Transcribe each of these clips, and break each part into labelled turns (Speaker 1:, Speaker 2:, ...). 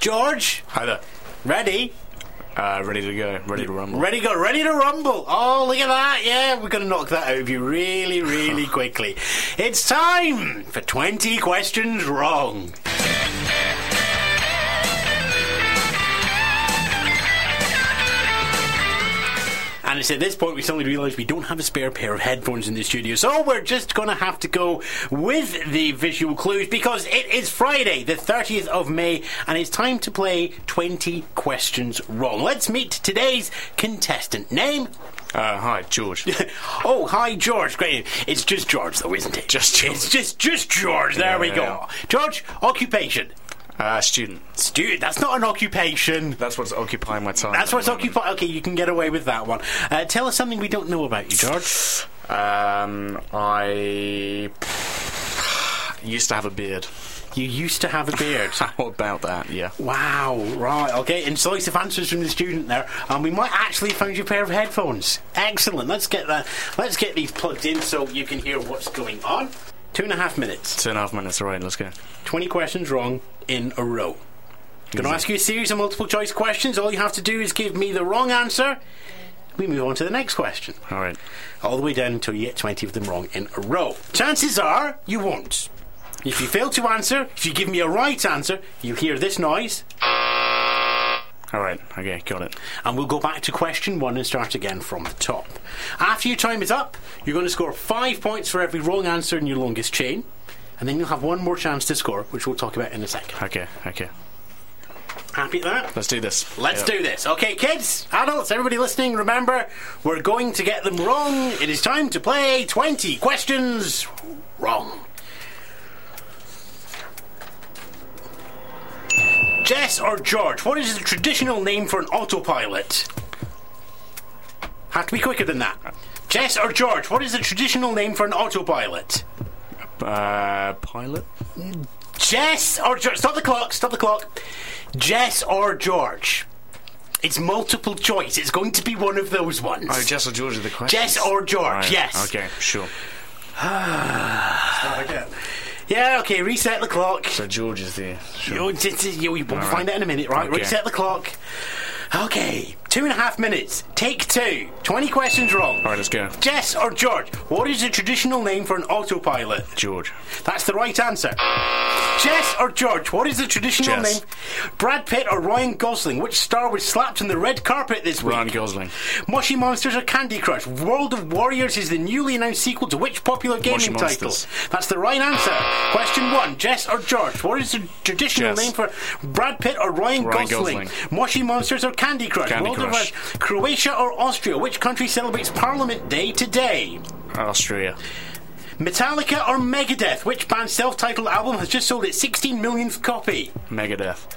Speaker 1: George,
Speaker 2: Hi there.
Speaker 1: ready?
Speaker 2: Uh, ready to go. Ready to rumble.
Speaker 1: Ready, go, ready to rumble. Oh, look at that. Yeah, we're going to knock that out of you really, really quickly. It's time for 20 questions wrong. And it's at this point we suddenly realise we don't have a spare pair of headphones in the studio, so we're just going to have to go with the visual clues because it is Friday, the 30th of May, and it's time to play 20 questions wrong. Let's meet today's contestant. Name?
Speaker 2: Uh, hi, George.
Speaker 1: oh, hi, George. Great. It's just George, though, isn't it?
Speaker 2: Just George.
Speaker 1: It's just, just George. There
Speaker 2: Yeah,
Speaker 1: we
Speaker 2: yeah,
Speaker 1: go.
Speaker 2: yeah.
Speaker 1: George, occupation.
Speaker 2: Uh, student.
Speaker 1: Dude, that's not an occupation.
Speaker 2: That's what's occupying my time.
Speaker 1: That's
Speaker 2: at
Speaker 1: what's
Speaker 2: the moment.
Speaker 1: occupied. Okay, you can get away with that one. Uh, tell us something we don't know about you, George.
Speaker 2: Um, I used to have a beard.
Speaker 1: You used to have a beard.
Speaker 2: How about that? Yeah.
Speaker 1: wow, right, okay. Incisive answers from the student there. Um, we might actually have found you a pair of headphones. Excellent. Let's get that. Let's get these plugged in so you can hear what's going on. Two and a half minutes.
Speaker 2: Two and a half minutes. All right, let's go.
Speaker 1: Twenty questions wrong in a row. Going to ask you a series of multiple choice questions. All you have to do is give me the wrong answer. We move on to the next question.
Speaker 2: All right.
Speaker 1: all the way down until you get 20 of them wrong in a row. Chances are you won't. If you fail to answer, if you give me a right answer, you hear this noise,
Speaker 2: All right. Okay, got it.
Speaker 1: and we'll go back to question one and start again from the top. After your time is up, you're going to score five points for every wrong answer in your longest chain, and then you'll have one more chance to score, which we'll talk about in a second.
Speaker 2: Okay. Okay.
Speaker 1: Happy at that?
Speaker 2: Let's do this.
Speaker 1: Let's do this. Okay, kids, adults, everybody listening, remember, we're going to get them wrong. It is time to play 20 questions wrong. Jess or George, what is the traditional name for an autopilot? Have to be quicker than that. Jess or George, what is the traditional name for an autopilot?
Speaker 2: do. Uh, pilot.
Speaker 1: Jess or George? Stop the clock, stop the clock. Jess or George? It's multiple choice. It's going to be one of those ones.
Speaker 2: Oh, Jess or George are the question.
Speaker 1: Jess or George, yes.
Speaker 2: Okay, sure.
Speaker 1: Yeah, okay, reset the clock.
Speaker 2: So George is the.
Speaker 1: You,
Speaker 2: Sure.
Speaker 1: d- d- you- we'll
Speaker 2: Alright.
Speaker 1: find out in a minute, right?
Speaker 2: Okay.
Speaker 1: Reset the clock. Okay, two and a half minutes. Take two. 20 questions wrong.
Speaker 2: All right, let's go.
Speaker 1: Jess or George, what is the traditional name for an autopilot?
Speaker 2: George.
Speaker 1: That's the right answer. Jess or George, what is the traditional
Speaker 2: Jess.
Speaker 1: name? Brad Pitt or Ryan Gosling, which star was slapped on the red carpet this week?
Speaker 2: Ryan Gosling.
Speaker 1: Mushy Monsters or Candy Crush? World of Warriors is the newly announced sequel to which popular gaming title?
Speaker 2: Monsters.
Speaker 1: That's the right answer. Question one Jess or George? What is the traditional
Speaker 2: Jess.
Speaker 1: name for Brad Pitt or Ryan,
Speaker 2: Ryan
Speaker 1: Gosling?
Speaker 2: Gosling.
Speaker 1: Mushy Monsters or Candy Crush?
Speaker 2: Candy
Speaker 1: World
Speaker 2: Crush.
Speaker 1: Of Warriors. Croatia or Austria? Which country celebrates Parliament Day today?
Speaker 2: Austria.
Speaker 1: Metallica or Megadeth? Which band's self titled album has just sold its 16 millionth copy?
Speaker 2: Megadeth.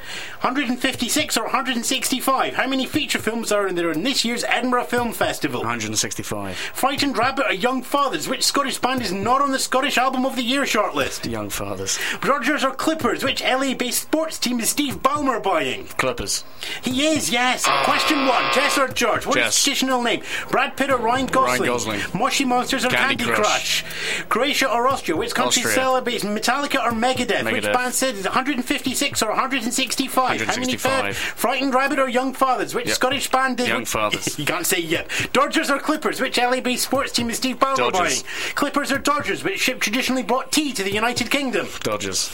Speaker 1: 156 or 165? How many feature films are in there in this year's Edinburgh Film Festival?
Speaker 2: 165.
Speaker 1: Frightened Rabbit or Young Fathers? Which Scottish band is not on the Scottish Album of the Year shortlist?
Speaker 2: Young fathers.
Speaker 1: Rodgers or Clippers? Which LA based sports team is Steve Ballmer buying?
Speaker 2: Clippers.
Speaker 1: He is, yes. Question one Jess or George? What is
Speaker 2: Jess.
Speaker 1: traditional name? Brad Pitt or Ryan Gosling?
Speaker 2: Gosling.
Speaker 1: Mushy Monsters or Candy,
Speaker 2: Candy
Speaker 1: Crush.
Speaker 2: Crush.
Speaker 1: Croatia or Austria? Which country
Speaker 2: Austria.
Speaker 1: celebrates Metallica or Megadeth? Which
Speaker 2: Megadeth.
Speaker 1: band said it's 156 or 165? How many
Speaker 2: 165.
Speaker 1: third? Frightened Rabbit or Young Fathers? Which
Speaker 2: Yep.
Speaker 1: Scottish band did.
Speaker 2: Young Fathers.
Speaker 1: you can't say yet. Dodgers or Clippers? Which LA based sports team is Steve Ballmer buying?
Speaker 2: Dodgers.
Speaker 1: Clippers or Dodgers? Which ship traditionally brought tea to the United Kingdom?
Speaker 2: Dodgers.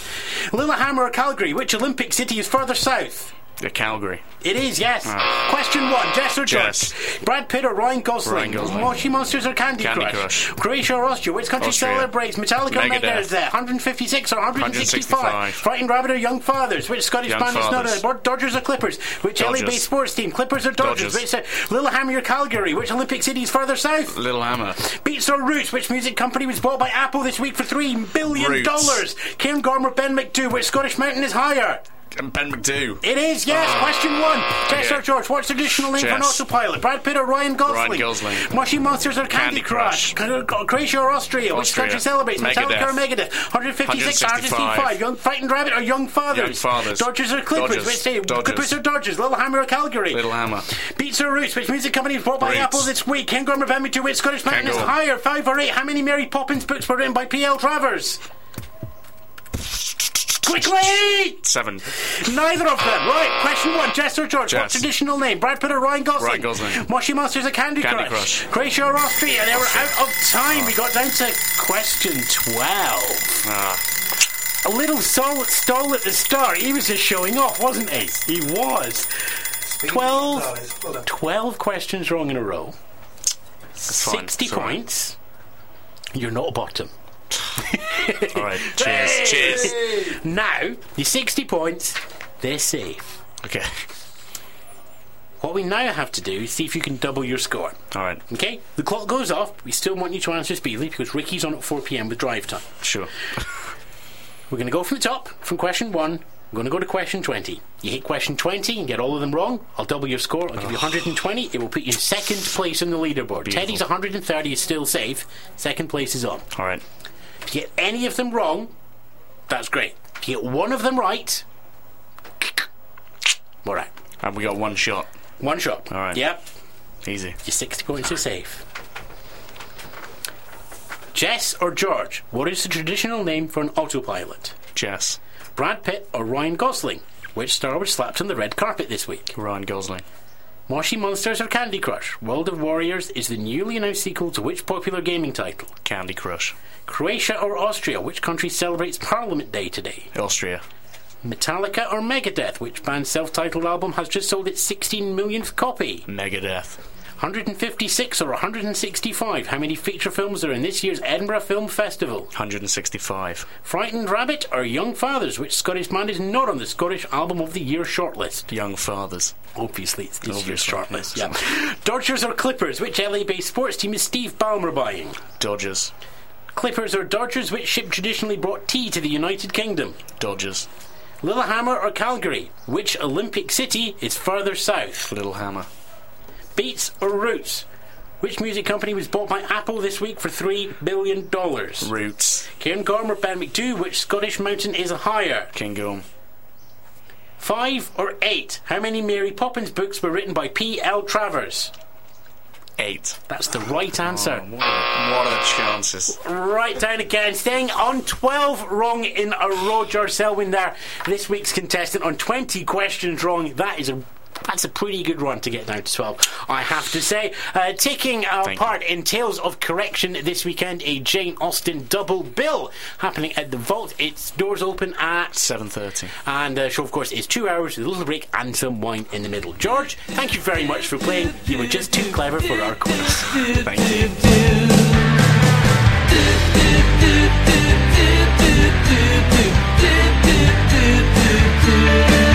Speaker 1: Lillehammer or Calgary? Which Olympic city is further south?
Speaker 2: The Calgary.
Speaker 1: It is, yes. Question one, Jess or George?
Speaker 2: Ah. Jess.
Speaker 1: Brad Pitt or Ryan Gosling?
Speaker 2: Ryan Gosling.
Speaker 1: Moshi Monsters or Candy,
Speaker 2: Candy
Speaker 1: Crush?
Speaker 2: Crush.
Speaker 1: Croatia or Austria? Which country
Speaker 2: Austria.
Speaker 1: celebrates Metallica or
Speaker 2: Megadeth.
Speaker 1: Megadeth? 156 or 165?
Speaker 2: 165.
Speaker 1: Frightened Rabbit or Young Fathers? Which Scottish
Speaker 2: Young
Speaker 1: band is
Speaker 2: Fathers.
Speaker 1: not a... Dodgers or Clippers? Which
Speaker 2: Dodgers.
Speaker 1: LA-based sports team? Clippers or Dodgers? Which
Speaker 2: Dodgers.
Speaker 1: uh, Lillehammer or Calgary? Which Olympic city is further south?
Speaker 2: Little Hammer.
Speaker 1: Beats or Roots, which music company was bought by Apple this week for three billion
Speaker 2: Roots.
Speaker 1: dollars? Cairn Gormer, Ben McDoo, which Scottish mountain is higher?
Speaker 2: And Ben McDoo.
Speaker 1: It is, yes.
Speaker 2: Ah.
Speaker 1: Question one. Jess
Speaker 2: Okay.
Speaker 1: or George, what's the traditional name for an
Speaker 2: Jess.
Speaker 1: autopilot? Brad Pitt or Ryan Gosling?
Speaker 2: Ryan Gosling.
Speaker 1: Mushy Monsters or Candy,
Speaker 2: Candy Crush?
Speaker 1: Cr- Croatia or Austria? Which
Speaker 2: Austria.
Speaker 1: country celebrates? Metallica or
Speaker 2: Megadeth.
Speaker 1: Megadeth? 156 or 165?
Speaker 2: 165.
Speaker 1: Young Frightened Rabbit or Young Fathers?
Speaker 2: Young Fathers.
Speaker 1: Dodgers or Clippers?
Speaker 2: Dodgers.
Speaker 1: Which day?
Speaker 2: Dodgers.
Speaker 1: Clippers or Dodgers? Littlehammer or Calgary?
Speaker 2: Little Hammer.
Speaker 1: Beats or Roots, which music company was bought by
Speaker 2: Roots.
Speaker 1: Apple this week? Ken Gorman, Van to which Scottish mountain is
Speaker 2: Kangol.
Speaker 1: higher? Five or eight? How many Mary Poppins books were written by P.L. Travers? Quickly!
Speaker 2: Seven.
Speaker 1: Neither of them. Right, question one. Jess or George? What
Speaker 2: Jess.
Speaker 1: traditional name? Brad Pitt or Ryan Gosling?
Speaker 2: Ryan Gosling.
Speaker 1: Moshi Monsters or Candy,
Speaker 2: Candy
Speaker 1: Crush?
Speaker 2: Crush.
Speaker 1: Croatia or Austria? They were out of time. We got down to question 12.
Speaker 2: Ah,
Speaker 1: A little solid stole at the start. He was just showing off, wasn't he? He was. 12, 12 questions wrong in a row.
Speaker 2: it's fine.
Speaker 1: 60
Speaker 2: It's all right.
Speaker 1: points. You're not a bottom.
Speaker 2: All right. Cheers. Cheers.
Speaker 1: Now, you're 60 points. They're safe.
Speaker 2: Okay.
Speaker 1: What we now have to do is see if you can double your score.
Speaker 2: All right.
Speaker 1: Okay, the clock goes off. We still want you to answer speedily because Ricky's on at 4 pm with drive time.
Speaker 2: Sure.
Speaker 1: We're going to go from the top, from question 1. We're going to go to question 20. You hit question 20 and get all of them wrong. I'll double your score. I'll give you 120. It will put you in second place on the leaderboard. Teddy's 130 is still safe. Second place is on.
Speaker 2: All right.
Speaker 1: If you get any of them wrong, that's great. If you get one of them right, all right.
Speaker 2: And Uh, we got one shot.
Speaker 1: One shot.
Speaker 2: All right.
Speaker 1: Yep.
Speaker 2: Easy.
Speaker 1: Your 60 points are safe. Jess or George, what is the traditional name for an autopilot?
Speaker 2: Jess.
Speaker 1: Brad Pitt or Ryan Gosling? Which star was slapped on the red carpet this week?
Speaker 2: Ryan Gosling.
Speaker 1: Moshi Monsters or Candy Crush? World of Warriors is the newly announced sequel to which popular gaming title?
Speaker 2: Candy Crush.
Speaker 1: Croatia or Austria? Which country celebrates Parliament Day today?
Speaker 2: Austria.
Speaker 1: Metallica or Megadeth? Which band's self titled album has just sold its 16 millionth copy?
Speaker 2: Megadeth.
Speaker 1: 156 or 165? How many feature films are in this year's Edinburgh Film Festival?
Speaker 2: 165.
Speaker 1: Frightened Rabbit or Young Fathers? Which Scottish band is not on the Scottish Album of the Year shortlist?
Speaker 2: Young Fathers.
Speaker 1: Obviously, it's this year's
Speaker 2: Obviously,
Speaker 1: shortlist. Yeah. Dodgers or Clippers? Which LA based sports team is Steve Ballmer buying?
Speaker 2: Dodgers.
Speaker 1: Clippers or Dodgers? Which ship traditionally brought tea to the United Kingdom?
Speaker 2: Dodgers.
Speaker 1: Lillehammer or Calgary? Which Olympic city is further south?
Speaker 2: Little Hammer.
Speaker 1: Beats or Roots? Which music company was bought by Apple this week for three billion dollars?
Speaker 2: Roots.
Speaker 1: Kieran Gorm or Ben McDoo? Which Scottish mountain is higher?
Speaker 2: Kinghorn.
Speaker 1: Five or eight? How many Mary Poppins books were written by P. L. Travers?
Speaker 2: Eight. Oh,
Speaker 1: That's the right answer.
Speaker 2: What are, what are the chances?
Speaker 1: Right down again, staying on 12 wrong in a row. George Selwyn there, this week's contestant on 20 questions wrong. That is a that's a pretty good run to get down to 12, I have to say. Uh, taking uh,
Speaker 2: Thank you.
Speaker 1: part in Tales of Correction this weekend, a Jane Austen double bill happening at the Vault. Its doors open at.
Speaker 2: 7.30.
Speaker 1: And the show, of course, is two hours with a little break and some wine in the middle. George, thank you very much for playing. You were just too clever for our quiz.
Speaker 2: Thank you.
Speaker 3: do do do do do do do do do